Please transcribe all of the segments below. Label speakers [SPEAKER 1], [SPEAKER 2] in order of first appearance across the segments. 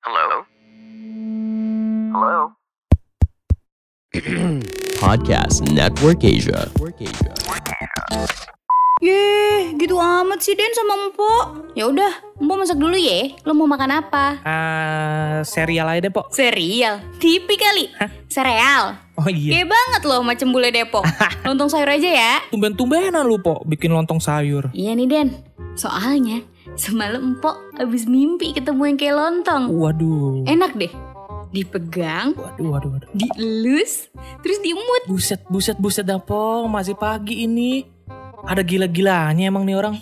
[SPEAKER 1] Hello? Hello?
[SPEAKER 2] Podcast Network Asia.
[SPEAKER 3] Yeh, gitu amat sih Den sama Empok. Ya udah, Empok masak dulu ye. Lo mau makan apa?
[SPEAKER 4] Ah, serial aja deh, Pok.
[SPEAKER 3] Serial. Tipi kali. Sereal.
[SPEAKER 4] Oh iya.
[SPEAKER 3] Gaya banget lo macam bule Depok. Lontong sayur aja ya.
[SPEAKER 4] Tumben-tumbenan lu, Pok, bikin lontong sayur.
[SPEAKER 3] Iya nih Den. Soalnya semalam Empok abis mimpi ketemu yang kayak lontong.
[SPEAKER 4] Waduh.
[SPEAKER 3] Enak deh. Dipegang,
[SPEAKER 4] Waduh, waduh, waduh.
[SPEAKER 3] dielus, terus diemut.
[SPEAKER 4] Buset, buset, buset dah, Pok. Masih pagi ini. Ada gila-gilanya emang nih orang.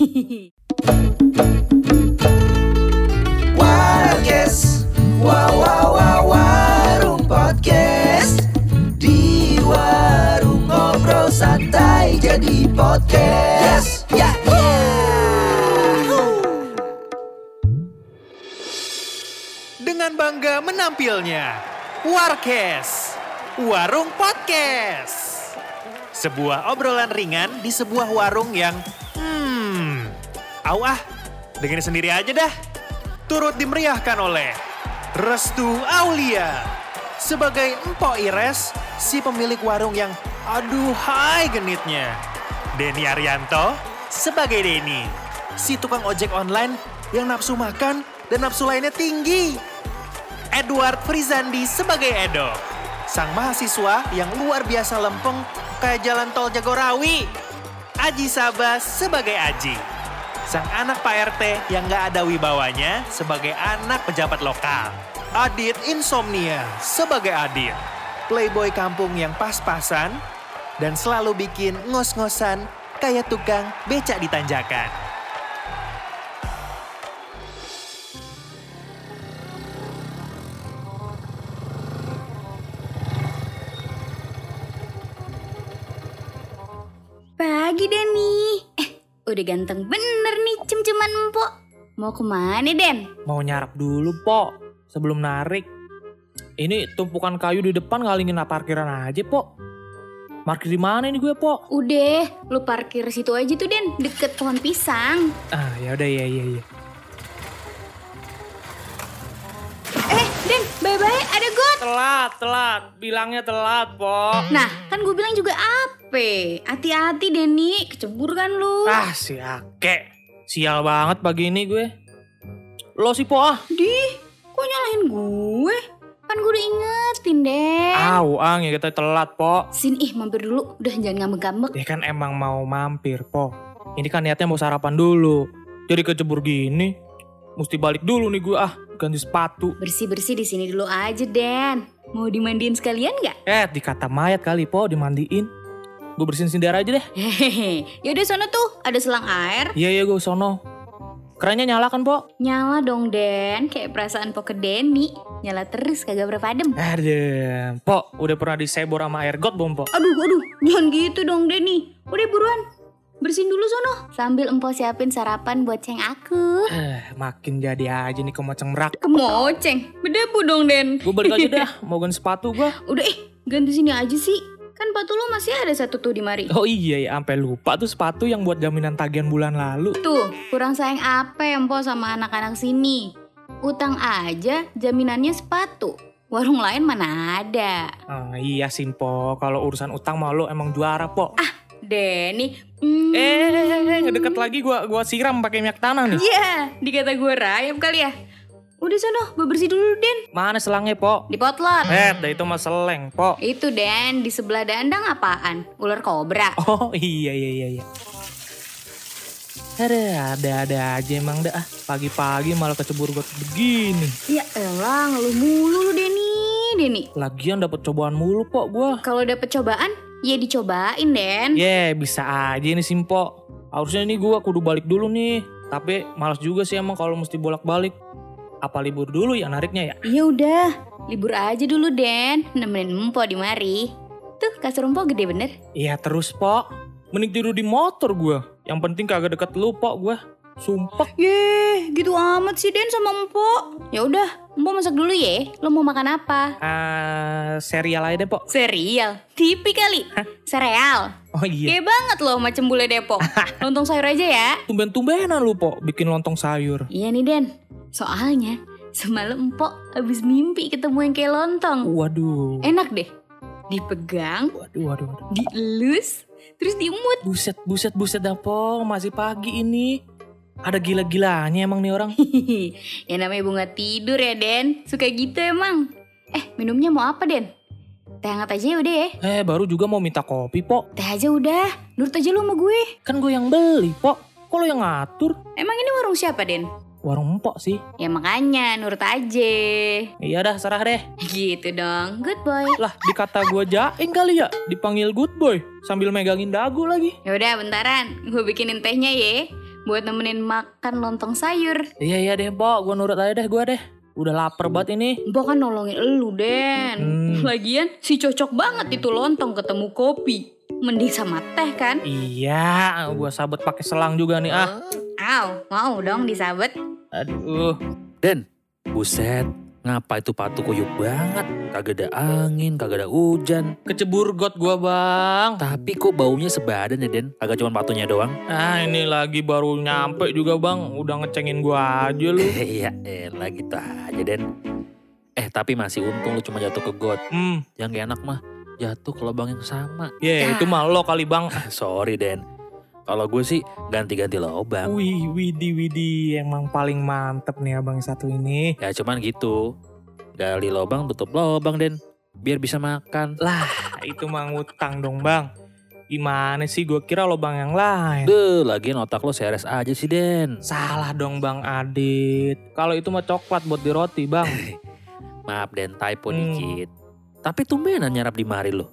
[SPEAKER 5] Warkes Wow wow wow warung podcast Di warung ngobrol santai jadi podcast Ya ya
[SPEAKER 6] dengan bangga menampilnya Warkes Warung Podcast sebuah obrolan ringan di sebuah warung yang hmm au ah dengerin sendiri aja dah turut dimeriahkan oleh Restu Aulia sebagai Empok Ires si pemilik warung yang aduhai genitnya Denny Arianto sebagai Denny si tukang ojek online yang nafsu makan dan nafsu lainnya tinggi Edward Frizandi sebagai Edo. Sang mahasiswa yang luar biasa lempeng kayak jalan tol Jagorawi. Aji Sabah sebagai Aji. Sang anak Pak RT yang gak ada wibawanya sebagai anak pejabat lokal. Adit Insomnia sebagai Adit. Playboy kampung yang pas-pasan dan selalu bikin ngos-ngosan kayak tukang becak di tanjakan.
[SPEAKER 3] Pagi Denny. Eh, udah ganteng bener nih cem-ceman Empok. Mau kemana Den?
[SPEAKER 4] Mau nyarap dulu, Pok. Sebelum narik. Ini tumpukan kayu di depan ngalingin parkiran aja, Pok. Parkir di mana ini gue, Pok?
[SPEAKER 3] Udah, lu parkir situ aja tuh Den, deket pohon pisang.
[SPEAKER 4] Ah, ya udah ya ya ya.
[SPEAKER 3] Eh, Den, bye-bye, ada got.
[SPEAKER 4] Telat, telat. Bilangnya telat, Pok.
[SPEAKER 3] Nah, kan gue bilang juga ape. Hati-hati Denny, kecebur kan lu.
[SPEAKER 4] Ah, si Ake. Sial banget pagi ini gue. Lo sih, Po. Ah,
[SPEAKER 3] Dih, kok nyalahin gue? Kan gue udah ingetin, Den.
[SPEAKER 4] Au, ang, ya kita telat, Po.
[SPEAKER 3] Sini, ih, mampir dulu. Udah, jangan ngambek-ngambek.
[SPEAKER 4] Ya kan emang mau mampir, Po. Ini kan niatnya mau sarapan dulu. Jadi kecebur gini. Mesti balik dulu nih gue, ah. Ganti sepatu.
[SPEAKER 3] Bersih-bersih di sini dulu aja, Den. Mau dimandiin sekalian nggak?
[SPEAKER 4] Eh, dikata mayat kali, Po. Dimandiin. Gue bersihin sendiri aja deh.
[SPEAKER 3] Hehehe. Yaudah, sana tuh. Ada selang air.
[SPEAKER 4] Iya, iya, gue sono. Kerannya nyala kan, Po?
[SPEAKER 3] Nyala dong, Den. Kayak perasaan po ke Denny. Nyala terus, kagak berapa adem.
[SPEAKER 4] Aduh, Eh, Po. Udah pernah disebor sama air got belum, Po?
[SPEAKER 3] Aduh, aduh, jangan gitu dong Denny. Udah buruan, bersihin dulu sono. Sambil empok siapin sarapan buat ceng aku.
[SPEAKER 4] Eh, makin jadi aja nih kemoceng merak.
[SPEAKER 3] Kemoceng, Oh, berdebu dong Den.
[SPEAKER 4] Gue balik aja dah, mau ganti sepatu gue.
[SPEAKER 3] Udah eh, ganti sini aja sih. Kan patu lo masih ada satu tuh di mari.
[SPEAKER 4] Oh iya ya, sampai lupa tuh sepatu yang buat jaminan tagihan bulan lalu.
[SPEAKER 3] Tuh, kurang sayang apa empok sama anak-anak sini. Utang aja, jaminannya sepatu. Warung lain mana ada.
[SPEAKER 4] Ah, iya Simpo, kalau urusan utang mah lo emang juara, Po.
[SPEAKER 3] Denny, hmm.
[SPEAKER 4] Eh, eh, eh, eh, ngedeket lagi gua gua siram pakai minyak tanah nih.
[SPEAKER 3] Iya, dikata gue rayap kali ya. Udah sono, bebersih dulu Den.
[SPEAKER 4] Mana selangnya, Po?
[SPEAKER 3] Di potlot.
[SPEAKER 4] Eh, dah itu mah seleng, Po.
[SPEAKER 3] Itu Den, di sebelah dandang apaan? Ular kobra.
[SPEAKER 4] Oh iya iya iya iya. Ada ada ada aja emang dah. ah. Pagi-pagi malah kecebur gue begini.
[SPEAKER 3] Ya elah, ngeluh mulu lu Deni, Deni.
[SPEAKER 4] Lagian dapat cobaan mulu, Po, gua.
[SPEAKER 3] Kalau dapet cobaan, ya dicobain Den.
[SPEAKER 4] Ye, bisa aja nih Simpo. Harusnya nih gua kudu balik dulu nih. Tapi malas juga sih emang kalau mesti bolak-balik. Apa libur dulu ya nariknya ya?
[SPEAKER 3] Ya udah, libur aja dulu Den, nemenin Empo di mari. Tuh, kasur Empo gede bener.
[SPEAKER 4] Iya terus, Pok. Mending tidur di motor gua. Yang penting kagak deket lu, Pok, gua. Sumpah.
[SPEAKER 3] Yeh, gitu amat sih Den sama Empo. Ya udah, Empo masak dulu ye. Lo mau makan apa?
[SPEAKER 4] Ah, serial aja deh, Pok.
[SPEAKER 3] Serial, tipi kali. Sereal.
[SPEAKER 4] Oh iya.
[SPEAKER 3] Gaya banget loh macam bule Depok. Lontong sayur aja ya.
[SPEAKER 4] Tumben-tumbenan lu, Pok, bikin lontong sayur.
[SPEAKER 3] Iya nih Den, soalnya Semalam empok abis mimpi ketemu yang kayak lontong.
[SPEAKER 4] Waduh.
[SPEAKER 3] Enak deh. Dipegang,
[SPEAKER 4] Waduh, waduh, waduh.
[SPEAKER 3] dielus, terus diemut.
[SPEAKER 4] Buset, buset, buset dah Pong. Masih pagi ini. Ada gila-gilanya emang nih orang.
[SPEAKER 3] ya namanya bunga tidur ya Den. Suka gitu emang. Eh minumnya mau apa Den? Teh hangat aja udah ya.
[SPEAKER 4] Eh, baru juga mau minta kopi, Pok.
[SPEAKER 3] Teh aja udah. Nurut aja lu sama gue.
[SPEAKER 4] Kan gue yang beli, Pok. Kok lo yang ngatur?
[SPEAKER 3] Emang ini warung siapa Den?
[SPEAKER 4] Warung empok sih.
[SPEAKER 3] Ya makanya nurut aja.
[SPEAKER 4] Iya dah, serah deh.
[SPEAKER 3] Gitu dong. Good boy.
[SPEAKER 4] Lah, dikata gue jaing kali ya. Dipanggil good boy. Sambil megangin dagu lagi.
[SPEAKER 3] Ya udah bentaran. Gue bikinin tehnya ya. Buat nemenin makan lontong sayur.
[SPEAKER 4] Iya, iya deh, Pok. Gue nurut aja deh, gue deh. Udah lapar banget ini.
[SPEAKER 3] Mbok kan nolongin elu, Den.
[SPEAKER 4] Hmm.
[SPEAKER 3] Lagian si cocok banget itu lontong ketemu kopi. Mending sama teh kan?
[SPEAKER 4] Iya, gue sabet pakai selang juga nih, ah.
[SPEAKER 3] Aw, mau dong disabet.
[SPEAKER 4] Aduh.
[SPEAKER 7] Den, buset, ngapa itu patu kuyup banget? Kagak ada angin, kagak ada hujan.
[SPEAKER 4] Kecebur got gue, Bang.
[SPEAKER 7] Tapi kok baunya sebadan ya, Den? Kagak cuma patunya doang.
[SPEAKER 4] Ah, ini lagi baru nyampe juga, Bang. Udah ngecengin gue aja lu.
[SPEAKER 7] Iya, elah gitu aja, Den. Eh, tapi masih untung lu cuma jatuh ke got.
[SPEAKER 4] Hmm,
[SPEAKER 7] Yang gak enak mah, jatuh ke lubang yang sama.
[SPEAKER 4] ya itu mah lo kali, Bang.
[SPEAKER 7] Sorry, Den. Kalau gue sih ganti-ganti lubang.
[SPEAKER 4] Wih, Widi, Widi, emang paling mantep nih abang yang satu ini.
[SPEAKER 7] Ya cuman gitu. Gali lubang, tutup lubang, Den. Biar bisa makan.
[SPEAKER 4] Nah, itu mah ngutang dong bang. Gimana sih gue kira lubang yang lain.
[SPEAKER 7] Duh, lagian otak lo seres aja sih, Den.
[SPEAKER 4] Salah dong bang Adit. Kalau itu mah coklat buat di roti bang.
[SPEAKER 7] Maaf Den, typo
[SPEAKER 4] Hmm.
[SPEAKER 7] dikit. Tapi tumbenan nyarap di mari lo.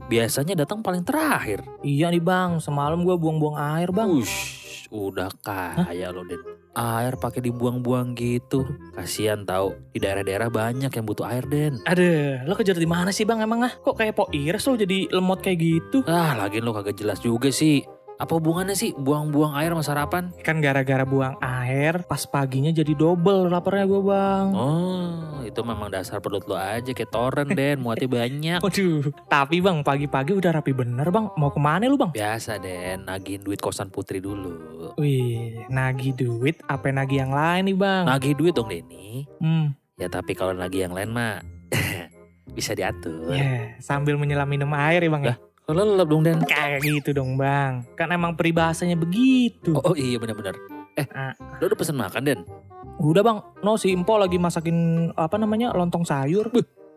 [SPEAKER 7] Biasanya datang paling terakhir.
[SPEAKER 4] iya nih bang, semalam gue buang-buang air bang.
[SPEAKER 7] Ush, udah kaya lo Den. Air pakai dibuang-buang gitu. Kasihan tahu. Di daerah-daerah banyak yang butuh air, Den.
[SPEAKER 4] Aduh, lo kerja di mana sih bang emang ah? Kok kayak po iris lo jadi lemot kayak gitu?
[SPEAKER 7] Ah, lagian lo kagak jelas juga sih. Apa hubungannya sih buang-buang air sama sarapan?
[SPEAKER 4] Kan gara-gara buang air, pas paginya jadi double laparnya gue bang.
[SPEAKER 7] Oh, itu memang dasar perut lo aja kayak toren, Den. Muatnya banyak.
[SPEAKER 4] Waduh, tapi bang pagi-pagi udah rapi bener bang. Mau kemana lu bang?
[SPEAKER 7] Biasa, Den. Nagihin duit kosan putri dulu.
[SPEAKER 4] Wih, nagih duit apa nagih yang lain nih bang?
[SPEAKER 7] Nagih duit dong, Denny.
[SPEAKER 4] Hmm,
[SPEAKER 7] Ya tapi kalau lagi yang lain mah bisa diatur.
[SPEAKER 4] ya, sambil menyelam minum air ya bang ya.
[SPEAKER 7] Kalau lelap dong Dan.
[SPEAKER 4] Kayak gitu dong bang. Kan emang peribahasanya begitu.
[SPEAKER 7] Oh, oh iya benar-benar. Eh,
[SPEAKER 4] Ah.
[SPEAKER 7] lo udah pesen makan Den?
[SPEAKER 4] Oh, Udah bang, no si Impo lagi masakin apa namanya lontong sayur.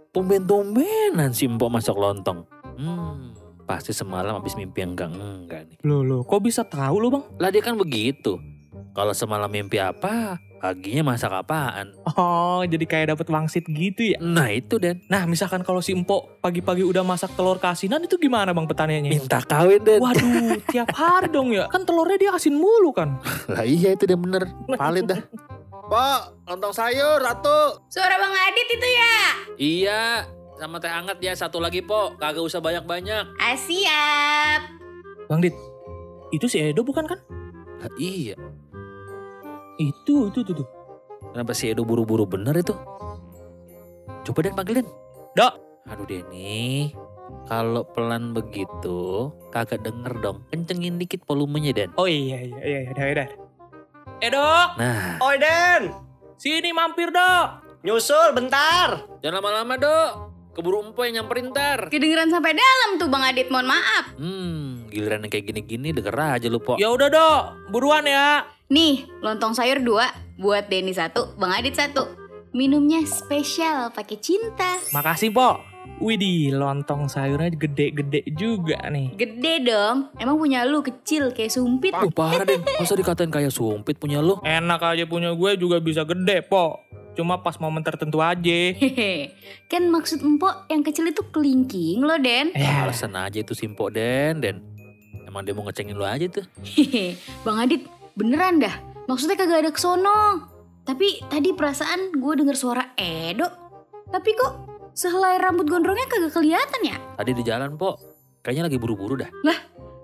[SPEAKER 7] Tumben-tumbenan si Mpok masak lontong. Hmm, pasti semalam habis mimpi yang enggak enggak nih.
[SPEAKER 4] Loh loh, kok bisa tahu lu bang?
[SPEAKER 7] Lah dia kan begitu. Kalau semalam mimpi apa, paginya masak apaan.
[SPEAKER 4] Oh, jadi kayak dapat wangsit gitu ya.
[SPEAKER 7] Nah itu Den,
[SPEAKER 4] Nah, misalkan kalau si Impo pagi-pagi udah masak telur keasinan itu gimana bang petaniannya?
[SPEAKER 7] minta kawin Den.
[SPEAKER 4] Waduh, tiap hari dong ya. Kan telurnya dia asin mulu kan.
[SPEAKER 7] Lah iya itu Den bener, valid dah.
[SPEAKER 1] Pok, lontong sayur satu.
[SPEAKER 3] Suara Bang Adit itu ya.
[SPEAKER 7] iya, sama teh hangat ya satu lagi Po, kagak usah banyak-banyak.
[SPEAKER 3] Ah, siap.
[SPEAKER 4] Bang Dit, itu si Edo bukan kan?
[SPEAKER 7] Lah, iya,
[SPEAKER 4] Itu, itu, itu, itu.
[SPEAKER 7] Kenapa si Edo buru-buru bener itu? Coba Den panggil Den.
[SPEAKER 4] Dok.
[SPEAKER 7] Aduh Denny, kalau pelan begitu kagak denger dong. Kencengin dikit volumenya Den.
[SPEAKER 4] Oh iya, iya, iya, iya, udah, udah. Edo,
[SPEAKER 7] Nah,
[SPEAKER 1] Oi Den,
[SPEAKER 4] sini mampir dok.
[SPEAKER 1] nyusul bentar.
[SPEAKER 7] jangan lama-lama dok. Keburu empo yang nyamperin ntar.
[SPEAKER 3] Kedengeran sampai dalam tuh Bang Adit, mohon maaf.
[SPEAKER 7] Hmm, giliran yang kayak gini-gini denger aja lu po.
[SPEAKER 4] Ya udah dok, buruan ya.
[SPEAKER 3] Nih, lontong sayur dua, buat Denny satu, Bang Adit satu. Minumnya spesial pakai cinta.
[SPEAKER 4] Makasih po. Widih, lontong sayurnya gede-gede juga nih.
[SPEAKER 3] Gede dong. Emang punya lu kecil kayak sumpit.
[SPEAKER 7] Uh, parah Den, masa dikatain kayak sumpit punya lu?
[SPEAKER 4] Enak aja punya gue juga bisa gede po. Cuma pas momen tertentu aja.
[SPEAKER 3] Hehe. kan maksud empok yang kecil itu kelingking lo Den.
[SPEAKER 4] Ya,
[SPEAKER 7] Alasan aja itu simpo Den, Den. Emang dia mau ngecengin lu aja tuh.
[SPEAKER 3] Hehe. Bang Adit, beneran dah. Maksudnya kagak ada kesono. Tapi tadi perasaan gue denger suara Edo. Tapi kok sehelai rambut gondrongnya kagak kelihatan ya?
[SPEAKER 7] Tadi di jalan po, kayaknya lagi buru-buru dah.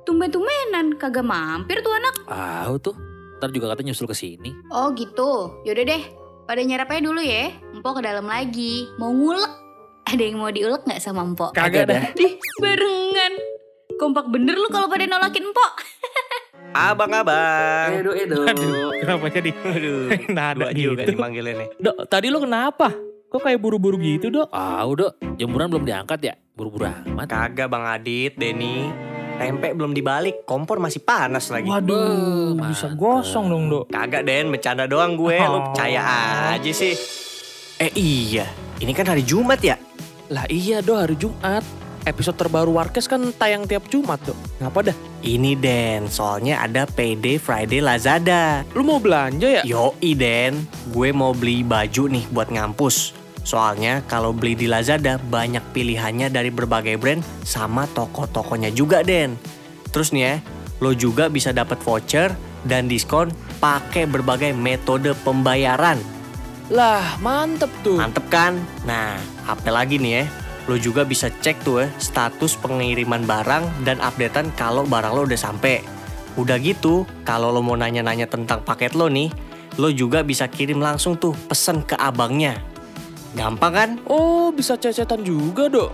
[SPEAKER 3] Tumben-tumbenan kagak mampir tuh anak.
[SPEAKER 7] Ah tuh, ntar juga katanya nyusul ke sini.
[SPEAKER 3] Oh gitu. Yaudah deh, pada nyerapnya dulu ya. Empok ke dalam lagi. Mau ngulek. Ada yang mau diulek nggak sama empok?
[SPEAKER 4] kagak dah.
[SPEAKER 3] Dih, barengan. Kompak bener lu kalau pada nolakin empok.
[SPEAKER 1] Abang-abang.
[SPEAKER 8] Edo, Edo.
[SPEAKER 4] Kenapa jadi?
[SPEAKER 1] Aduh.
[SPEAKER 4] Nada
[SPEAKER 1] Dua
[SPEAKER 4] gitu.
[SPEAKER 1] juga dipanggilnya nih.
[SPEAKER 4] Dok, tadi lo kenapa? Kok kayak buru-buru gitu, Dok?
[SPEAKER 7] Ah, udah, jemuran belum diangkat ya? Buru-buru amat.
[SPEAKER 1] Kagak Bang Adit, Denny. Tempe belum dibalik, kompor masih panas lagi.
[SPEAKER 4] Waduh,
[SPEAKER 7] Beuh,
[SPEAKER 4] bisa
[SPEAKER 7] mantap.
[SPEAKER 4] gosong dong, Dok.
[SPEAKER 1] Kagak Den, bercanda doang gue.
[SPEAKER 4] Oh.
[SPEAKER 1] Lu percaya aja sih. Eh iya, ini kan hari Jumat ya?
[SPEAKER 9] Lah iya do hari Jumat. Episode terbaru Warkes kan tayang tiap Jumat do. Ngapa dah?
[SPEAKER 1] Ini Den, soalnya ada PD Friday Lazada.
[SPEAKER 9] Lu mau belanja ya?
[SPEAKER 1] Yoi Den, gue mau beli baju nih buat ngampus. Soalnya kalau beli di Lazada banyak pilihannya dari berbagai brand sama toko-tokonya juga Den. Terus nih ya, lo juga bisa dapat voucher dan diskon pakai berbagai metode pembayaran.
[SPEAKER 9] Lah mantep tuh.
[SPEAKER 1] Mantep kan? Nah, apa lagi nih ya? Lo juga bisa cek tuh ya status pengiriman barang dan updatean kalau barang lo udah sampai. Udah gitu, kalau lo mau nanya-nanya tentang paket lo nih, lo juga bisa kirim langsung tuh pesan ke abangnya. Gampang kan?
[SPEAKER 9] Oh bisa cecetan juga do.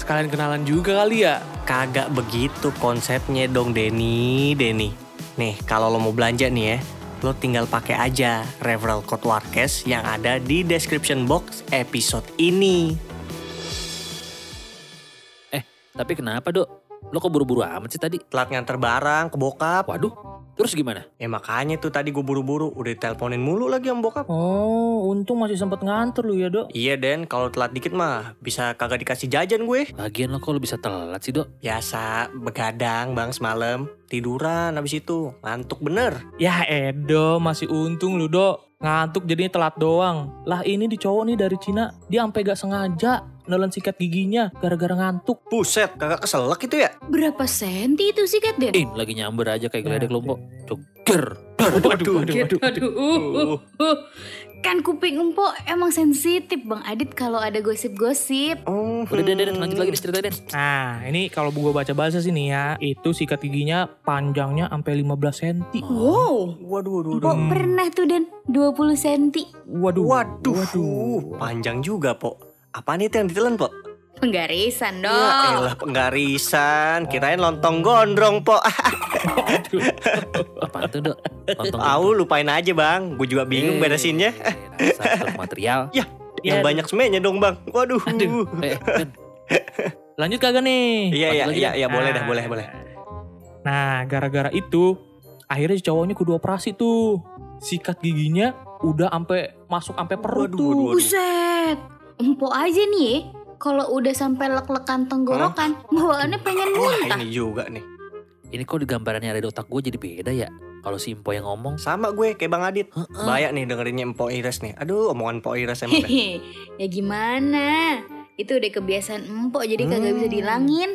[SPEAKER 9] Sekalian kenalan juga kali ya.
[SPEAKER 1] Kagak begitu konsepnya dong Denny, Denny. Nih, kalau lo mau belanja nih ya, lo tinggal pakai aja referral code Warkes yang ada di description box episode ini.
[SPEAKER 7] Tapi kenapa, Dok? Lo kok buru-buru amat sih tadi?
[SPEAKER 1] Telat nganter barang ke bokap,
[SPEAKER 7] Waduh, terus gimana?
[SPEAKER 1] Ya makanya tuh tadi gue buru-buru, udah teleponin mulu lagi sama bokap.
[SPEAKER 4] Oh, untung masih sempat nganter lu ya, Dok.
[SPEAKER 1] Iya Den, kalau telat dikit mah bisa kagak dikasih jajan gue.
[SPEAKER 7] Lagian lo kok lo bisa telat sih, Dok?
[SPEAKER 1] Biasa, begadang bang semalam, tiduran habis itu, ngantuk bener.
[SPEAKER 4] Ya Edo, masih untung lu dok. Ngantuk jadinya telat doang. Lah ini di cowok nih dari Cina, dia sampai gak sengaja nelen sikat giginya gara-gara ngantuk.
[SPEAKER 1] Buset, kagak keselak itu ya?
[SPEAKER 3] Berapa senti itu sih, Kat, Den?
[SPEAKER 7] Im, Eh, lagi nyamber aja kayak geledek lo, Mpok. Joger.
[SPEAKER 4] Waduh, waduh, waduh.
[SPEAKER 3] Aduh, uh, uh, uh. kan kuping empok emang sensitif Bang Adit kalau ada gosip-gosip.
[SPEAKER 1] Oh,
[SPEAKER 7] Udah, Den, Den, Den, lanjut lagi deh cerita, Den.
[SPEAKER 4] Nah, ini kalau gua baca bahasa sih nih ya, itu sikat giginya panjangnya sampai 15 cm.
[SPEAKER 7] Oh,
[SPEAKER 1] Waduh, waduh, waduh.
[SPEAKER 3] Empok pernah tuh Den 20 senti
[SPEAKER 4] Waduh,
[SPEAKER 1] Waduh, panjang juga po. Apaan itu yang ditelan po?
[SPEAKER 3] penggarisan
[SPEAKER 1] Ya
[SPEAKER 3] dong.
[SPEAKER 1] elah, penggarisan. Kirain lontong gondrong po. Ah,
[SPEAKER 7] Apaan tuh, Dok? Lontong
[SPEAKER 1] Au, lupain aja bang. Gue juga bingung
[SPEAKER 7] Eh,
[SPEAKER 1] beresinnya.
[SPEAKER 7] dasar material.
[SPEAKER 1] Yang banyak semennya dong bang. Waduh.
[SPEAKER 7] Aduh. Eh, Den,
[SPEAKER 4] Lanjut kagak nih?
[SPEAKER 1] Iya, iya,
[SPEAKER 7] Lanjut lagi, ya? Ah.
[SPEAKER 1] iya,
[SPEAKER 4] Nah.
[SPEAKER 1] iya, boleh dah, boleh, boleh.
[SPEAKER 4] Nah, gara-gara itu akhirnya si cowoknya kudu operasi tuh. Sikat giginya udah sampai masuk sampai perut
[SPEAKER 1] Waduh,
[SPEAKER 4] tuh.
[SPEAKER 1] waduh, waduh.
[SPEAKER 3] Buset. Empok aja nih ya, kalau udah sampai lek-lekan tenggorokan, bawaannya pengen
[SPEAKER 1] Wah,
[SPEAKER 7] iya.
[SPEAKER 3] muntah.
[SPEAKER 1] ini juga nih.
[SPEAKER 7] ini kok di gambarannya ada di otak gue jadi beda ya? Kalau si Impo yang ngomong,
[SPEAKER 1] Sama gue kayak Bang Adit.
[SPEAKER 7] Heeh.
[SPEAKER 1] Bayak nih dengerinnya Empo Ires nih. Aduh, omongan Empo Ires emang. dah.
[SPEAKER 3] Hehe. ya gimana? Itu udah kebiasaan empok jadi kagak bisa dihilangin.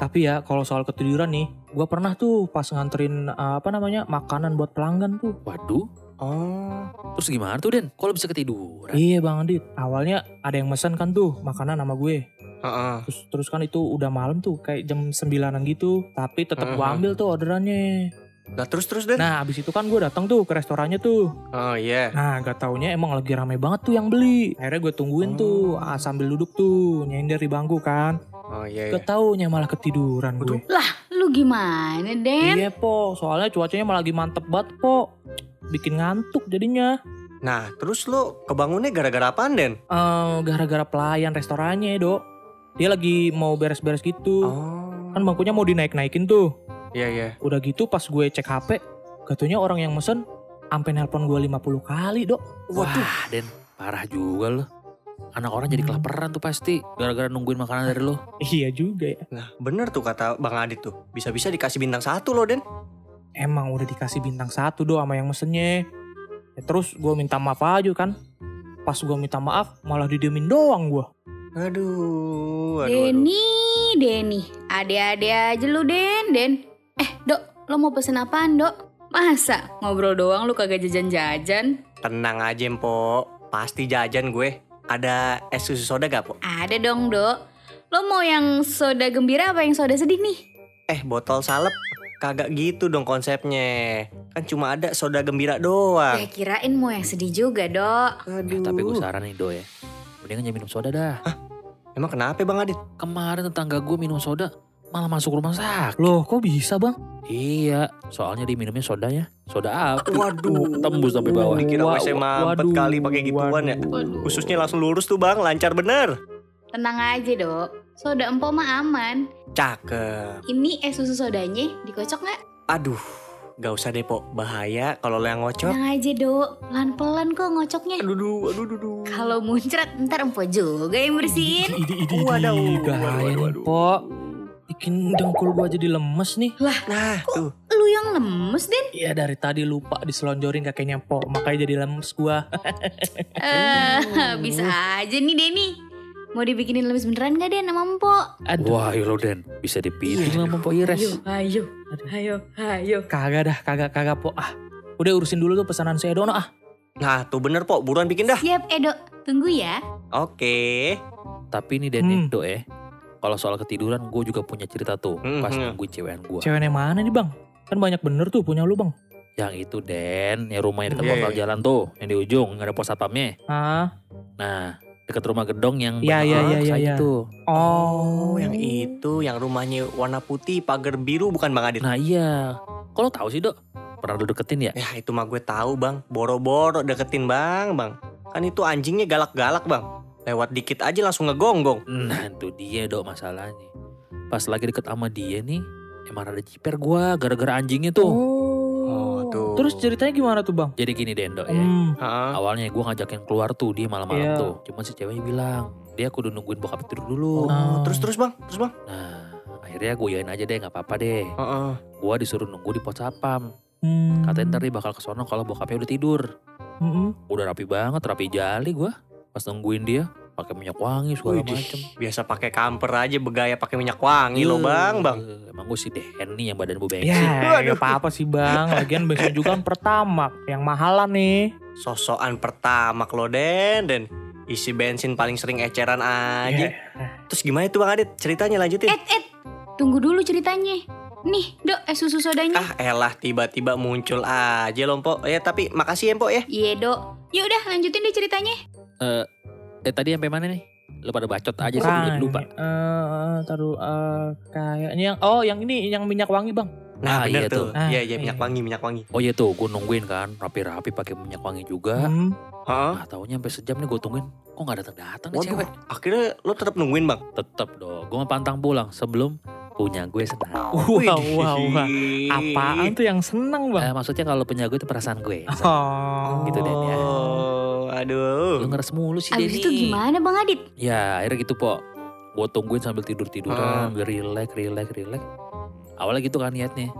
[SPEAKER 4] Tapi ya kalau soal ketiduran nih, gua pernah tuh pas nganterin uh, apa namanya makanan buat pelanggan tuh.
[SPEAKER 7] waduh,
[SPEAKER 1] oh.
[SPEAKER 7] terus gimana tuh Den? Kok lo bisa ketiduran?
[SPEAKER 4] Iya bang Adit, awalnya ada yang mesen kan tuh makanan sama gue.
[SPEAKER 1] Heeh.
[SPEAKER 4] Terus terus kan itu udah malam tuh kayak jam sembilanan gitu. Tapi tetap
[SPEAKER 1] Heeh.
[SPEAKER 4] gua ambil tuh orderannya.
[SPEAKER 1] Lah terus terus deh.
[SPEAKER 4] Nah abis itu kan gua datang tuh ke restorannya tuh.
[SPEAKER 1] Oh iya.
[SPEAKER 4] Nah gak taunya emang lagi rame banget tuh yang beli. Akhirnya gue tungguin tuh
[SPEAKER 1] Hmm.
[SPEAKER 4] ah, sambil duduk tuh nyender di bangku kan.
[SPEAKER 1] Oh iya. iya.
[SPEAKER 4] Gak taunya malah ketiduran gue.
[SPEAKER 3] Lu gimana, Den?
[SPEAKER 4] Iya po, soalnya cuacanya malah lagi mantep banget po. Bikin ngantuk jadinya.
[SPEAKER 1] Nah, terus lo kebangunnya gara-gara apaan, Den?
[SPEAKER 4] Eh, gara-gara pelayan restorannya dok dia lagi mau beres-beres gitu
[SPEAKER 1] Oh.
[SPEAKER 7] Uh.
[SPEAKER 4] kan bangkunya mau dinaik-naikin tuh
[SPEAKER 1] Iya, iya.
[SPEAKER 4] udah gitu pas gue cek hp katanya orang yang mesen sampai nelpon gue 50 kali dok
[SPEAKER 1] Waduh.
[SPEAKER 7] Wah, Den, parah juga lo. Anak orang jadi kelaparan tuh pasti gara-gara nungguin makanan dari lo.
[SPEAKER 4] iya juga ya
[SPEAKER 1] Nah, bener tuh kata Bang Adit tuh. Bisa-bisa dikasih bintang satu lo, Den.
[SPEAKER 4] emang udah dikasih bintang satu dok sama yang mesennya Ya, terus gue minta maaf aja kan pas gue minta maaf malah didemin doang gue
[SPEAKER 1] Aduh, aduh, aduh.
[SPEAKER 3] Denny, Denny, ade-ade aja lu Den, Den. Eh, Dok, lo mau pesen apaan, Dok? Masa ngobrol doang lu kagak jajan-jajan?
[SPEAKER 1] Tenang aja, Empo. Pasti jajan gue. Ada es susu soda gak, Po?
[SPEAKER 3] Ada dong, Dok. Lo mau yang soda gembira apa yang soda sedih nih?
[SPEAKER 1] Eh, botol salep. Kagak gitu dong konsepnya. Kan cuma ada soda gembira doang.
[SPEAKER 3] Ya kirain mau yang sedih juga, Dok.
[SPEAKER 7] Eh, tapi gue saranin do ya. Mendingan jangan minum soda dah.
[SPEAKER 1] Emang kenapa Bang Adit?
[SPEAKER 7] Kemarin tetangga gue minum soda, malah masuk rumah sakit.
[SPEAKER 4] Loh kok bisa bang?
[SPEAKER 7] Iya, soalnya diminumnya sodanya, soda api.
[SPEAKER 1] Waduh.
[SPEAKER 7] uh, Tembus sampai bawah.
[SPEAKER 1] Dikira
[SPEAKER 4] Wa-
[SPEAKER 1] gue SMA
[SPEAKER 4] waduh,
[SPEAKER 1] 4 kali pakai gituan ya.
[SPEAKER 3] Waduh.
[SPEAKER 1] Ususnya langsung lurus tuh bang, lancar bener.
[SPEAKER 3] Tenang aja dok, soda empok mah aman.
[SPEAKER 1] Cakep.
[SPEAKER 3] Ini es susu sodanya dikocok nggak?
[SPEAKER 1] Aduh, gak usah deh Pok. Bahaya kalau lo yang ngocok.
[SPEAKER 3] Tenang aja dok, pelan-pelan kok ngocoknya.
[SPEAKER 1] Aduh, aduh, aduh, aduh, aduh.
[SPEAKER 3] Kalau muncrat ntar empok juga yang bersihin.
[SPEAKER 4] Ide ide
[SPEAKER 1] Waduh,
[SPEAKER 4] ide
[SPEAKER 1] waduh,
[SPEAKER 4] bahaya
[SPEAKER 1] waduh,
[SPEAKER 4] nih
[SPEAKER 1] waduh.
[SPEAKER 4] po. Bikin dengkul gua jadi lemes nih.
[SPEAKER 1] Nah, tuh.
[SPEAKER 3] Lu yang lemes Den.
[SPEAKER 4] Iya dari tadi lupa diselonjorin kakeknya po, makanya jadi lemes gua.
[SPEAKER 3] Eh bisa aja nih Denny. Mau dibikinin lemes beneran gak Den sama empok?
[SPEAKER 4] Aduh,
[SPEAKER 7] Wah, ya lo Den, bisa
[SPEAKER 4] Iya.
[SPEAKER 7] dipiting lah sama Pak Ires.
[SPEAKER 3] ayo, ayo, ayo.
[SPEAKER 4] kagak dah, kagak kagak po. Ah, udah urusin dulu tuh pesanan si Edono ah.
[SPEAKER 1] Nah, tuh bener Pok. Buruan bikin dah.
[SPEAKER 3] Siap Edo, tunggu ya.
[SPEAKER 1] Oke.
[SPEAKER 7] Tapi ini Den
[SPEAKER 4] Hmm.
[SPEAKER 7] Edo ya. Kalau soal ketiduran, gue juga punya cerita tuh.
[SPEAKER 1] Hmm,
[SPEAKER 7] Pas
[SPEAKER 1] hmm.
[SPEAKER 7] nungguin cewekan gue.
[SPEAKER 4] Ceweknya mana nih bang? Kan banyak bener tuh punya lu bang.
[SPEAKER 7] Yang itu Den, yang rumahnya dekat
[SPEAKER 1] Iya,
[SPEAKER 7] portal
[SPEAKER 1] iya.
[SPEAKER 7] jalan tuh. Yang di ujung, nggak ada pos satpamnya.
[SPEAKER 4] Ah,
[SPEAKER 7] Nah, dekat rumah gedong yang
[SPEAKER 4] Iya, iya,
[SPEAKER 7] berhak
[SPEAKER 4] iya, iya,
[SPEAKER 7] saya
[SPEAKER 4] iya.
[SPEAKER 7] tuh.
[SPEAKER 4] oh,
[SPEAKER 1] Yang itu, yang rumahnya warna putih, pagar biru bukan Bang Adit?
[SPEAKER 7] Nah iya, kalau tahu sih dok, pernah lu deketin ya?
[SPEAKER 1] Ya itu mah gue tahu bang, boro-boro deketin bang, bang. Kan itu anjingnya galak-galak bang. Lewat dikit aja langsung ngegonggong.
[SPEAKER 7] Nah itu dia dok masalahnya. Pas lagi deket sama dia nih, emang ada jiper gua gara-gara anjingnya tuh.
[SPEAKER 1] Oh tuh.
[SPEAKER 4] Oh. Terus ceritanya gimana tuh bang?
[SPEAKER 7] Jadi gini Den dok ya.
[SPEAKER 4] Hmm,
[SPEAKER 1] Ha?
[SPEAKER 7] Awalnya gua ngajakin keluar tuh dia malam-malam
[SPEAKER 4] Iya.
[SPEAKER 7] tuh. Cuman si ceweknya bilang dia kudu nungguin bokap tidur dulu.
[SPEAKER 1] Oh,
[SPEAKER 4] Oh.
[SPEAKER 1] terus terus bang, terus bang.
[SPEAKER 7] Nah akhirnya gue yain aja deh nggak apa-apa deh.
[SPEAKER 1] Heeh.
[SPEAKER 7] Gua disuruh nunggu di pos satpam.
[SPEAKER 4] hmm.
[SPEAKER 7] Katanya ntar dia bakal kesono kalau bokapnya udah tidur.
[SPEAKER 4] Mm-mm.
[SPEAKER 7] Udah rapi banget, rapi jali gua. Pas nungguin dia pakai minyak wangi segala
[SPEAKER 1] Widih,
[SPEAKER 7] macem.
[SPEAKER 1] Biasa pakai kamper aja begaya pakai minyak wangi lo bang, bang.
[SPEAKER 7] Eh, Emang gue si Denny yang badan gue
[SPEAKER 4] Ya,
[SPEAKER 7] bensin.
[SPEAKER 4] nggak apa-apa sih bang. Lagian besok juga kan pertama, yang mahalan nih.
[SPEAKER 1] Sosokan pertama lo den, den. Isi bensin paling sering eceran aja. Terus gimana tuh bang Adit? Ceritanya lanjutin.
[SPEAKER 3] Ed, Ed, Eh, tunggu dulu ceritanya. Nih, dok, es susu sodanya.
[SPEAKER 1] Ah elah tiba-tiba muncul aja lompo. Ya tapi makasih ya Mpok ya.
[SPEAKER 3] Iya, dok. Ya udah, lanjutin deh ceritanya.
[SPEAKER 7] Eh tadi sampai mana nih? Lu pada bacot aja sih jadi Ya, lupa.
[SPEAKER 4] Kan. Eh, taruh eh, kayaknya yang oh yang ini yang minyak wangi bang.
[SPEAKER 7] Ah,
[SPEAKER 1] Nah, bener
[SPEAKER 7] iya tuh.
[SPEAKER 1] tuh. Iya,
[SPEAKER 4] Ah,
[SPEAKER 1] iya, minyak
[SPEAKER 4] iya.
[SPEAKER 1] wangi, minyak wangi.
[SPEAKER 7] Oh iya tuh, gue nungguin kan rapi-rapi pakai minyak wangi juga.
[SPEAKER 4] Hmm.
[SPEAKER 1] Hah?
[SPEAKER 7] Nah, tahunya sampai sejam nih gue tungguin. Kok nggak datang datang nih
[SPEAKER 1] Waduh,
[SPEAKER 7] cewek?
[SPEAKER 1] akhirnya lo tetap nungguin bang.
[SPEAKER 7] Tetep dong, gue pantang pulang sebelum punya gue senang.
[SPEAKER 4] Wah,
[SPEAKER 1] Widih.
[SPEAKER 4] wah, wah. Apaan tuh yang seneng bang?
[SPEAKER 7] Eh, maksudnya kalau punya gue itu perasaan gue.
[SPEAKER 4] Oh,
[SPEAKER 7] gitu deh ya.
[SPEAKER 1] Oh, aduh.
[SPEAKER 7] Lu ngeres mulu sih
[SPEAKER 3] Abis
[SPEAKER 7] Denny.
[SPEAKER 3] itu gimana, Bang Adit?
[SPEAKER 7] Ya akhirnya gitu po. Gue tungguin sambil tidur-tiduran,
[SPEAKER 1] Hmm.
[SPEAKER 7] gue relax, relax, relax. Awalnya gitu kan niatnya.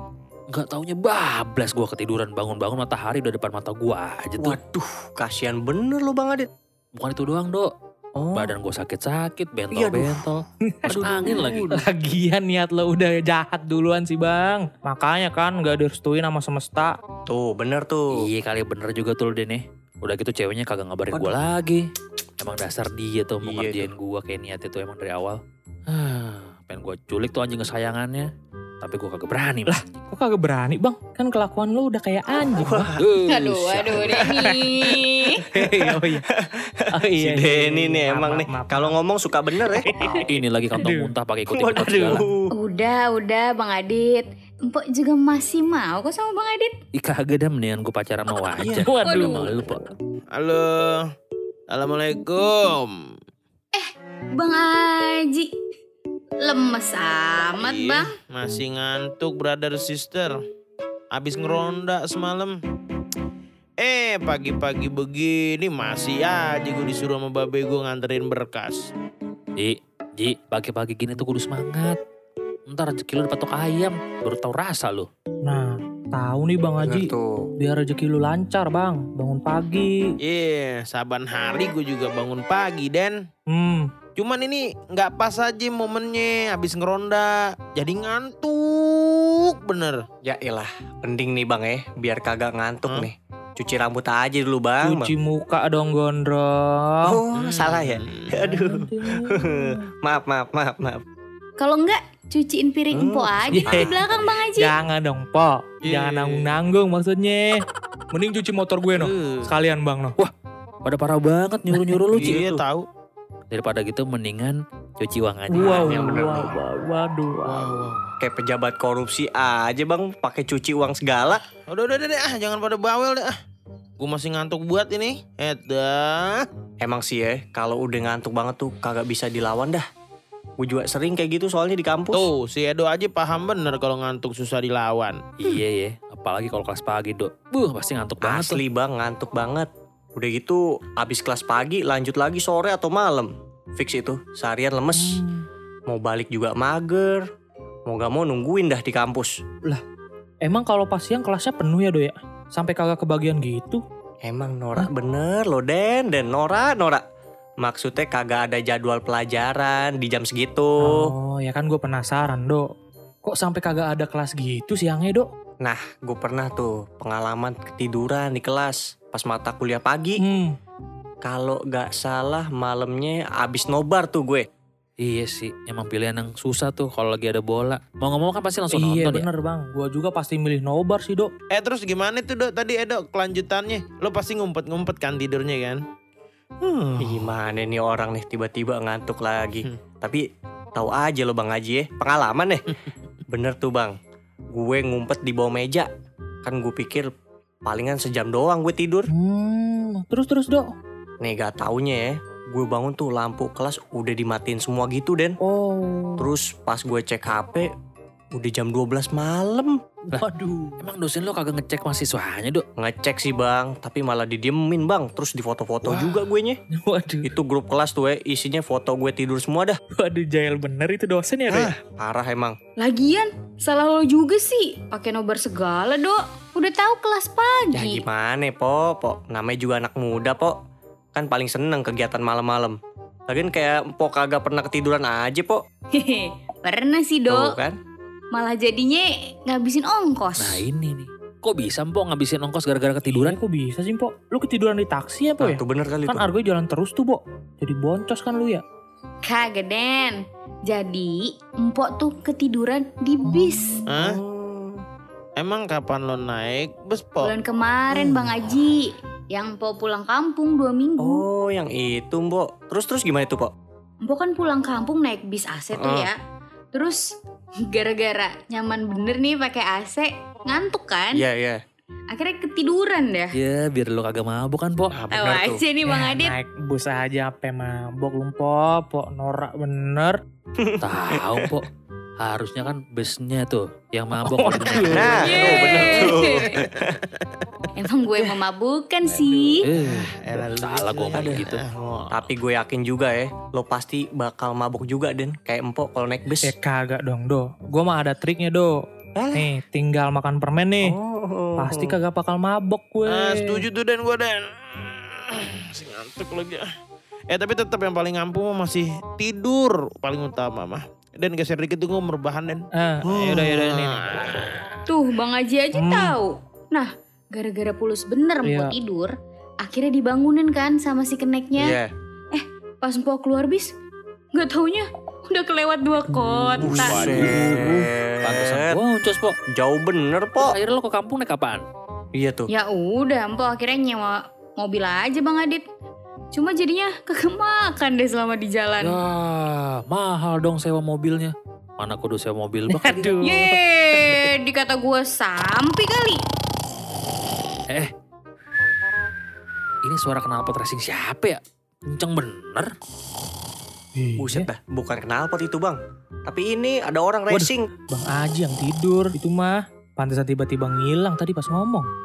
[SPEAKER 7] Nggak taunya bablas gue ketiduran bangun-bangun matahari udah depan mata gue aja tuh.
[SPEAKER 1] Waduh, kasihan bener lo bang Adit.
[SPEAKER 7] Bukan itu doang dok,
[SPEAKER 1] Oh.
[SPEAKER 7] badan gue sakit-sakit,
[SPEAKER 1] Iya, aduh.
[SPEAKER 7] bentol-bentol. Masuk angin lagi.
[SPEAKER 4] Lagian niat lo udah jahat duluan sih bang. Makanya kan nggak direstuin sama semesta.
[SPEAKER 1] Tuh, bener tuh.
[SPEAKER 7] Iya kali bener juga tuh lu Dene. Udah gitu ceweknya kagak ngabarin gue
[SPEAKER 1] Waduh.
[SPEAKER 7] lagi. Emang dasar dia tuh mau
[SPEAKER 1] Iya,
[SPEAKER 7] ngerjain gue kayak niatnya tuh emang dari awal. Hah, pengen gue culik tuh anjing kesayangannya. Tapi gue kagak berani. Lah,
[SPEAKER 4] Kok kagak berani bang? Kan kelakuan lo udah kayak anjing. Bang.
[SPEAKER 3] Aduh, aduh, Denny.
[SPEAKER 4] oh iya. Oh,
[SPEAKER 1] Si
[SPEAKER 4] iya, iya, iya.
[SPEAKER 1] Denny nih
[SPEAKER 4] Maaf,
[SPEAKER 1] emang
[SPEAKER 4] maaf,
[SPEAKER 1] nih.
[SPEAKER 4] maaf.
[SPEAKER 1] Kalau ngomong suka bener ya.
[SPEAKER 7] Ini lagi kantong
[SPEAKER 4] Aduh.
[SPEAKER 7] muntah pakai ikut-ikut segala.
[SPEAKER 1] Waduh.
[SPEAKER 3] Udah, udah, Bang Adit. Empok juga masih mau kok sama Bang Adit.
[SPEAKER 7] Ih kagak dah mendingan gue pacaran sama wajah.
[SPEAKER 1] Iya.
[SPEAKER 4] Waduh.
[SPEAKER 7] Sama lu, Pak.
[SPEAKER 8] Halo, assalamualaikum.
[SPEAKER 3] Bang Aji. Lemes amat,
[SPEAKER 1] Iya.
[SPEAKER 8] Ih,
[SPEAKER 3] Bang.
[SPEAKER 8] Iya, Masih ngantuk, brother sister. Abis ngeronda semalam. Eh, pagi-pagi begini masih aja gue disuruh sama babe gue nganterin berkas.
[SPEAKER 7] Ji, Ji, pagi-pagi gini tuh kudu semangat. Ntar rezeki lu dipatok ayam, baru tau rasa lu.
[SPEAKER 4] Nah, tahu nih bang Haji.
[SPEAKER 1] Bener tuh.
[SPEAKER 4] Biar rezeki lu lancar bang. Bangun pagi.
[SPEAKER 8] Iya, saban hari gue juga bangun pagi, Den.
[SPEAKER 4] Hmm.
[SPEAKER 8] Cuman ini nggak pas aja momennya abis ngeronda. Jadi ngantuk bener.
[SPEAKER 1] Ya elah, mending nih bang ya, biar kagak ngantuk nih. Cuci rambut aja dulu bang.
[SPEAKER 4] Cuci Hmm. muka dong gondrong.
[SPEAKER 1] Oh, salah ya. Aduh. maaf, maaf, maaf, maaf.
[SPEAKER 3] Kalau enggak, cuciin piring
[SPEAKER 1] Hmm.
[SPEAKER 3] empok aja
[SPEAKER 4] Iya.
[SPEAKER 3] di belakang, Bang Aji.
[SPEAKER 4] Jangan dong, Po.
[SPEAKER 8] Iya.
[SPEAKER 4] Jangan nanggung-nanggung maksudnya. Mending cuci motor gue noh.
[SPEAKER 8] Eh,
[SPEAKER 4] Sekalian bang noh.
[SPEAKER 7] Pada parah banget nyuruh-nyuruh lu, Ji.
[SPEAKER 8] Iya tahu.
[SPEAKER 7] Daripada gitu mendingan cuci uang aja.
[SPEAKER 4] Wow,
[SPEAKER 1] yang Iya, bener
[SPEAKER 4] wow,
[SPEAKER 1] dong.
[SPEAKER 4] wow, waduh.
[SPEAKER 1] Ah, Kayak pejabat korupsi aja bang, pakai cuci uang segala.
[SPEAKER 8] Udah, udah, udah, deh, ah, jangan pada bawel deh. ah. Gue masih ngantuk buat ini. Edah.
[SPEAKER 1] Emang sih ya, kalau udah ngantuk banget tuh kagak bisa dilawan dah. Gue juga sering kayak gitu soalnya di kampus.
[SPEAKER 8] Tuh, si Edo aja paham bener kalau ngantuk susah dilawan.
[SPEAKER 7] Iya ya, apalagi kalau kelas pagi dok. Buh, pasti ngantuk banget tuh.
[SPEAKER 1] Asli bang, ngantuk banget. Udah gitu, abis kelas pagi lanjut lagi sore atau malam. Fix itu, seharian lemes. Mau balik juga mager. Mau gak mau nungguin dah di kampus.
[SPEAKER 4] Emang kalau pas siang kelasnya penuh ya, Do ya? Sampai kagak kebagian gitu?
[SPEAKER 1] Emang Nora bener loh Den, Den Nora, Nora. Maksudnya kagak ada jadwal pelajaran di jam segitu.
[SPEAKER 4] Oh, ya kan gue penasaran, Do. Kok sampai kagak ada kelas gitu siangnya, Do?
[SPEAKER 1] Gue pernah tuh pengalaman ketiduran di kelas pas mata kuliah pagi.
[SPEAKER 4] Hmm.
[SPEAKER 1] Kalau gak salah malamnya abis nobar tuh gue.
[SPEAKER 7] Iya sih, emang pilihan yang susah tuh kalau lagi ada bola. Mau ngomong kan pasti langsung
[SPEAKER 4] Iya,
[SPEAKER 7] nonton ya.
[SPEAKER 4] bener, Bang. Gua juga pasti milih nobar sih, Do.
[SPEAKER 8] Eh terus gimana tuh dok tadi Edo kelanjutannya? Lo pasti ngumpet-ngumpet kan tidurnya kan? Hmm.
[SPEAKER 1] Ih, Gimana nih orang nih tiba-tiba ngantuk lagi.
[SPEAKER 8] Hmm.
[SPEAKER 1] Tapi tahu aja lo Bang Haji ya, pengalaman ya. Bener tuh Bang. Gue ngumpet di bawah meja. Kan gue pikir palingan sejam doang gue tidur.
[SPEAKER 4] Hmm. Terus terus, Do.
[SPEAKER 1] Nih gak taunya ya, gue bangun tuh lampu kelas udah dimatiin semua gitu Den.
[SPEAKER 4] Oh.
[SPEAKER 1] Terus pas gue cek HP, udah jam 12 malam.
[SPEAKER 4] Waduh.
[SPEAKER 7] Emang dosen lo kagak ngecek mahasiswanya dok?
[SPEAKER 1] Ngecek sih Bang, tapi malah didiemin Bang. Terus difoto-foto juga gue nya.
[SPEAKER 4] Waduh.
[SPEAKER 1] Itu grup kelas tuh ya, isinya foto gue tidur semua dah.
[SPEAKER 4] Waduh, jahil bener itu dosen ya, Do. ya?
[SPEAKER 1] Parah emang.
[SPEAKER 3] Lagian, salah lo juga sih. Pakai nobar segala, Dok. Udah tahu kelas
[SPEAKER 1] Ya
[SPEAKER 3] pagi.
[SPEAKER 1] gimana po, po. Namanya juga anak muda po. Kan paling seneng kegiatan malam-malam. Lagian kayak po kagak pernah ketiduran aja po.
[SPEAKER 3] Hehe, Pernah sih,
[SPEAKER 1] Tuh
[SPEAKER 3] Dok.
[SPEAKER 1] kan.
[SPEAKER 3] Malah jadinya ngabisin ongkos.
[SPEAKER 7] Nah
[SPEAKER 1] iya.
[SPEAKER 7] ini nih, kok bisa empok ngabisin ongkos gara-gara ketiduran?
[SPEAKER 4] Iya, kok bisa sih, Po? Lu ketiduran di taksi apa
[SPEAKER 1] Nah,
[SPEAKER 4] ya?
[SPEAKER 1] tuh bener kali
[SPEAKER 4] Kan
[SPEAKER 1] tuh.
[SPEAKER 4] argoy jalan terus tuh, Bo. Jadi boncos kan lu ya?
[SPEAKER 3] Kagak, Den. Jadi, empok tuh ketiduran di bis.
[SPEAKER 8] Hah?
[SPEAKER 7] Oh.
[SPEAKER 8] Emang kapan lo naik bus po?
[SPEAKER 3] Bulan kemarin, Bang Aji. Yang empok pulang kampung dua minggu.
[SPEAKER 1] Oh yang itu po. Terus-terus gimana tuh po?
[SPEAKER 3] Empok kan pulang kampung naik bis AC tuh
[SPEAKER 1] Ah.
[SPEAKER 3] ya. Terus, gara-gara nyaman bener nih pakai AC, ngantuk kan?
[SPEAKER 1] Iya, iya.
[SPEAKER 3] Akhirnya ketiduran deh.
[SPEAKER 4] Iya.
[SPEAKER 7] Ya biar lo kagak mabuk kan po.
[SPEAKER 1] Ah,
[SPEAKER 3] Tahu
[SPEAKER 1] bener tuh.
[SPEAKER 3] aja nih Iya, Bang
[SPEAKER 4] Ya,
[SPEAKER 3] Adit.
[SPEAKER 4] Naik bus aja apa ya, mabok lu, Po. Po, norak bener.
[SPEAKER 7] Tahu po. Harusnya kan busnya tuh yang mabuk.
[SPEAKER 4] Oh, iya.
[SPEAKER 1] Nah, tuh bener tuh.
[SPEAKER 3] Emang gue memabukan sih.
[SPEAKER 7] Eh,
[SPEAKER 8] Elah, lu
[SPEAKER 7] salah gue
[SPEAKER 8] jelek.
[SPEAKER 7] ngomong gitu.
[SPEAKER 8] Ah, oh.
[SPEAKER 1] Tapi gue yakin juga ya, lo pasti bakal mabuk juga Den, kayak empok kalau naik
[SPEAKER 4] Ya
[SPEAKER 1] bus.
[SPEAKER 4] kagak dong, Do. Gua mah ada triknya, Do.
[SPEAKER 1] Hah?
[SPEAKER 4] Nih, tinggal makan permen nih.
[SPEAKER 1] Oh.
[SPEAKER 4] eh, Pasti kagak bakal mabok gue.
[SPEAKER 8] Ah, setuju tuh dan gue dan. Masih ngantuk lagi. ah. Eh tapi tetap yang paling ampuh mah masih tidur paling utama mah. Dan geser dikit tuh gue merbahan dan.
[SPEAKER 4] Ah,
[SPEAKER 7] Oh.
[SPEAKER 4] yaudah, yaudah, nih, nih.
[SPEAKER 3] Tuh Bang Aji aja
[SPEAKER 4] Hmm.
[SPEAKER 3] tahu. Nah, gara-gara pulus bener mau
[SPEAKER 4] Iya.
[SPEAKER 3] tidur, akhirnya dibangunin kan sama si keneknya.
[SPEAKER 1] Iya.
[SPEAKER 3] Pas mau keluar bis, nggak taunya udah kelewat dua
[SPEAKER 1] Hmm,
[SPEAKER 3] kotak.
[SPEAKER 7] Pantesan boncos po.
[SPEAKER 1] Jauh bener po.
[SPEAKER 7] Akhirnya lo ke kampung naik apaan?
[SPEAKER 1] Iya tuh.
[SPEAKER 3] Ya udah, Mpok akhirnya nyewa mobil aja Bang Adit. Cuma jadinya kekemakan deh selama di jalan.
[SPEAKER 7] Ya mahal dong sewa mobilnya. Mana kudu sewa mobil bak.
[SPEAKER 4] Aduh.
[SPEAKER 3] Yeay, dikata gue sampai kali.
[SPEAKER 7] Ini suara knalpot racing siapa ya? Kenceng bener.
[SPEAKER 1] Buset dah, bukan knalpot itu bang. Tapi ini ada orang
[SPEAKER 4] Waduh.
[SPEAKER 1] racing.
[SPEAKER 4] Bang Aji yang tidur. Itu mah. Pantesan tiba-tiba ngilang tadi pas ngomong.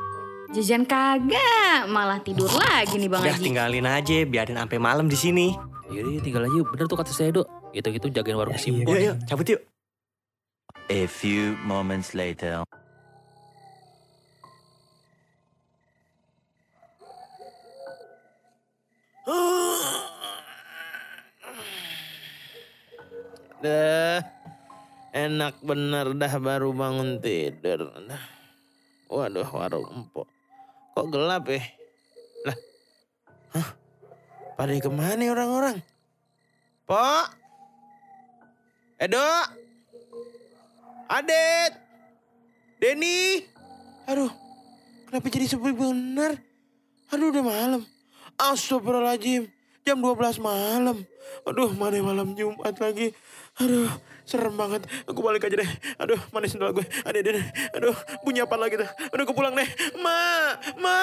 [SPEAKER 3] Jajan kagak, malah tidur lagi nih Bang
[SPEAKER 1] Udah
[SPEAKER 3] Aji.
[SPEAKER 1] tinggalin aja, biarin sampai malam di sini.
[SPEAKER 7] Yaudah tinggal aja bener tuh kata saya dok. Gitu-gitu jagain
[SPEAKER 4] Ya,
[SPEAKER 7] warung simpul.
[SPEAKER 1] Yuk, yuk, cabut yuk.
[SPEAKER 5] A few moments later.
[SPEAKER 8] Dah. Enak bener dah baru bangun tidur. Dah. Waduh warung empok. Kok gelap ya? Lah. Hah? Pada kemana ya orang-orang? Pok? Eh, Edo? Adit? Denny? Aduh. Kenapa jadi sepi bener? Aduh udah malam. Astagfirullahaladzim.
[SPEAKER 10] Jam 12 malam. Aduh, mana malam Jumat lagi. Aduh, serem banget. Aku balik aja deh. Aduh, mana sendal gue? Aduh, aduh, aduh. aduh bunyi apa lagi tuh? Aduh, aku pulang deh. Ma, ma.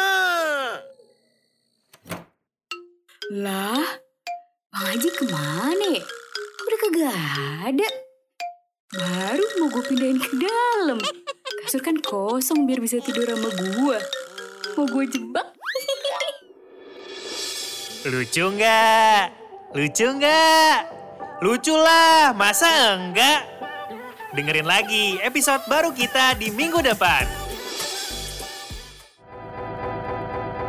[SPEAKER 3] Lah, Bang Haji kemana ya? Kok Udah kagak ada. Baru mau gue pindahin ke dalam. Kasur kan kosong biar bisa tidur sama gue. Mau gue jebak?
[SPEAKER 6] Lucu nggak? Lucu nggak? Lucu lah, masa enggak? Dengerin lagi episode baru kita di minggu depan.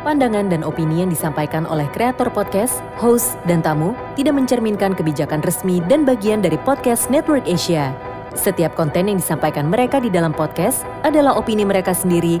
[SPEAKER 8] Pandangan dan opini yang disampaikan oleh kreator podcast, host, dan tamu tidak mencerminkan kebijakan resmi dan bagian dari podcast Network Asia. Setiap konten yang disampaikan mereka di dalam podcast adalah opini mereka sendiri